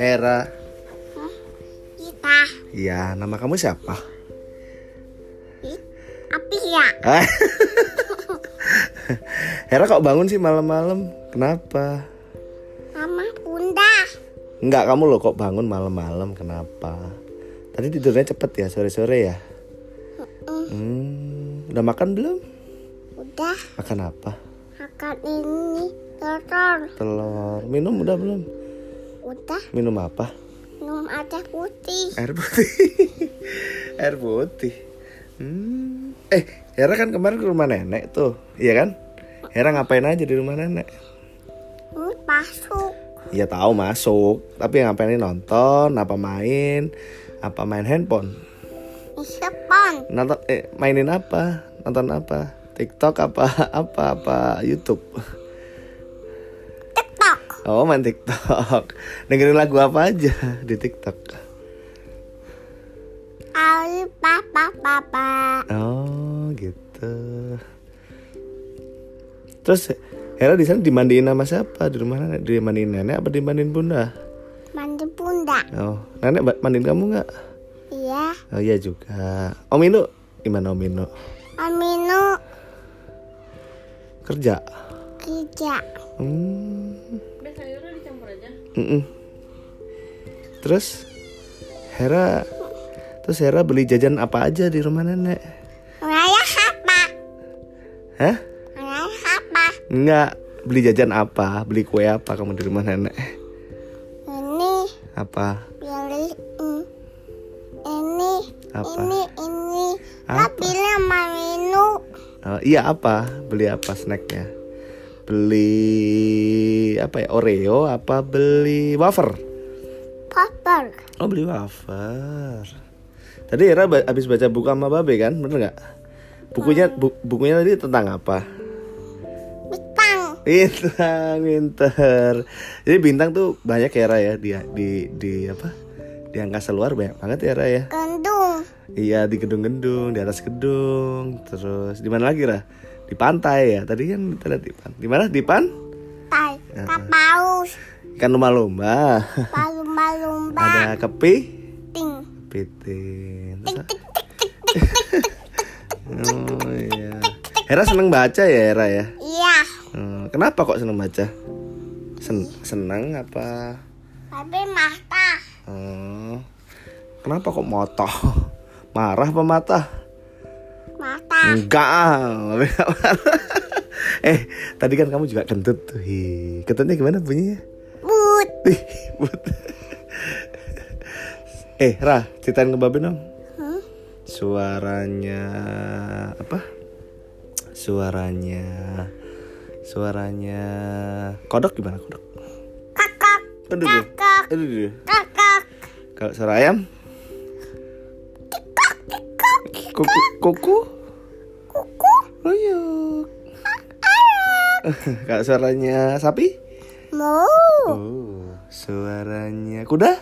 Hera, Kita ya nama kamu siapa? api ya. Hah? Ah. Hera kok bangun sih malam-malam? Kenapa? Mama bunda. Enggak, kamu loh kok bangun malam-malam? Kenapa? Tadi tidurnya cepet ya, sore-sore ya? Hmm, udah makan belum? Udah Makan apa? makan ini telur. Telur. Minum udah belum? Udah Minum apa? minum air putih. Air putih. Air putih. Hmm. Eh, Hera kan kemarin ke rumah nenek tuh, iya kan? Hera ngapain aja di rumah nenek? Ini masuk. Iya tahu masuk, tapi yang ngapain nonton, apa main, apa main handphone? Ini sepon. Nonton, eh, mainin apa? Nonton apa? TikTok apa apa apa YouTube? Tiktok. Oh main TikTok. Dengerin lagu apa aja di TikTok? Ali papa papa. Oh gitu. Terus Hera di sana dimandiin sama siapa? Di rumah nenek? Dimandiin nenek apa dimandiin bunda? Mandi bunda. Oh, nenek ba- mandiin kamu nggak? Iya. Oh iya juga. Om Inu, gimana Om Inu? Aminu Kerja? kerja. Hmm. sayurnya dicampur aja. Terus Hera, terus Hera beli jajan apa aja di rumah nenek? Raya apa? Hah? Raya apa? Enggak. Beli jajan apa? Beli kue apa kamu di rumah nenek? Ini Apa? pilih mm, ini Apa? ini ini. Apa? Tapi sama Minu. Oh, iya apa? Beli apa snacknya? Beli apa ya? Oreo apa beli wafer? Popper. Oh beli wafer. Tadi Era ba- habis baca buku sama Babe kan, bener nggak? Bukunya bu- bukunya tadi tentang apa? Bintang. Bintang, winter. Jadi bintang tuh banyak ya Era ya di di di apa? Di angkasa luar banyak banget ya Era ya. Gendung. Iya di gedung-gedung, di atas gedung, terus di mana lagi Ra? Di pantai ya. Tadi kan kita lihat di pan. Di mana? Di pan? Tai. Kapaus. Ikan lumba-lumba. Balumba-lumba. Ada kepi, Ting. pitin. Terus- Oh iya. Hera seneng baca ya Hera ya. Iya. Hmm, Kenapa kok seneng baca? Sen- seneng apa? Tapi mata. Hmm, Kenapa kok motoh? Marah pematah? Mata. Enggak, ah, Babe nggak marah. eh, tadi kan kamu juga kentut tuh. Hi. Kentutnya gimana bunyinya? But. Ih, but. eh, Ra, ceritain ke Babe dong. Hmm? Suaranya apa? Suaranya suaranya kodok gimana kodok? Kakak. Aduh, aduh, Kakak. aduh, aduh. Kakak. Kalau suara ayam? Kuku, kuku, Kuku. ruyuk. Kalau suaranya sapi? Mau. Oh, suaranya kuda?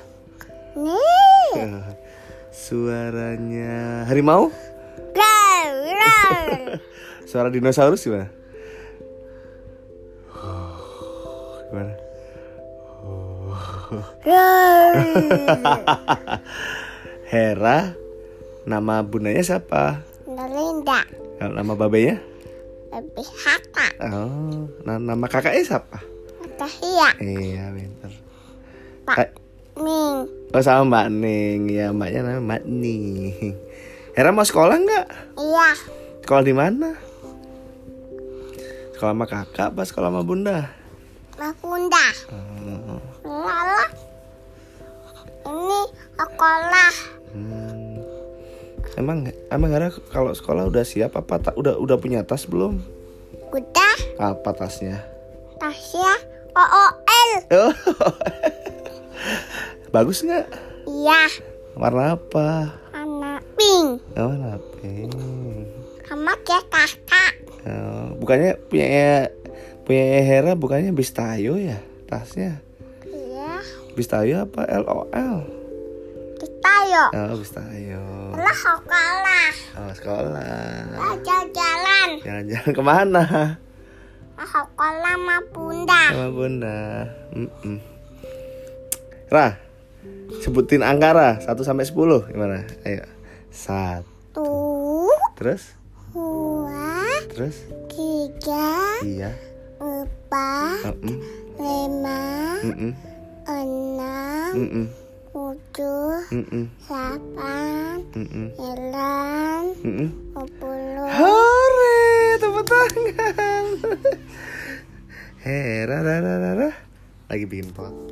Nih. Suaranya harimau? Rar. Rar. Suara dinosaurus gimana? Gimana? Rar. Hera, nama bundanya siapa? Linda. Kalau nama babenya? Lebih hata. Oh, na- nama kakaknya siapa? Mata hiya. Iya, pinter. Pak. Kayak- Ning. Oh sama Mbak Ning, ya Mbaknya namanya Mbak Ning. Hera mau sekolah nggak? Iya. Sekolah di mana? Sekolah sama kakak apa sekolah sama bunda? Makunda. Oh, Lala. Ini sekolah. hmm. Emang emang Hera kalau sekolah udah siap apa tak udah udah punya tas belum? Udah. Apa tasnya? Tasya. OOL. Oh. Bagus nggak? Iya. Warna apa? Anak pink. Oh, warna pink. Sama kayak kakak. Oh, bukannya punya punya Hera bukannya Bistayo ya tasnya? Iya. Bistayo apa LOL? Kita yuk. Oh, Bistayo. Lah sekolah. Oh, sekolah. Lah jalan-jalan. Jalan-jalan kemana? Masuk kolam sama bunda. sama bunda Mm-mm. Ra sebutin angka Ra 1 sampai 10 gimana ayo sat Tuh, terus dua, terus tiga, iya empat, Mm-mm. lima, Mm-mm. enam, Mm-mm. tujuh, Mm-mm. delapan, Mm-mm. sembilan, Mm-mm. sepuluh. Hore, tepuk tangan. Hera, ra, ra, ra, ra. Lagi bikin pot.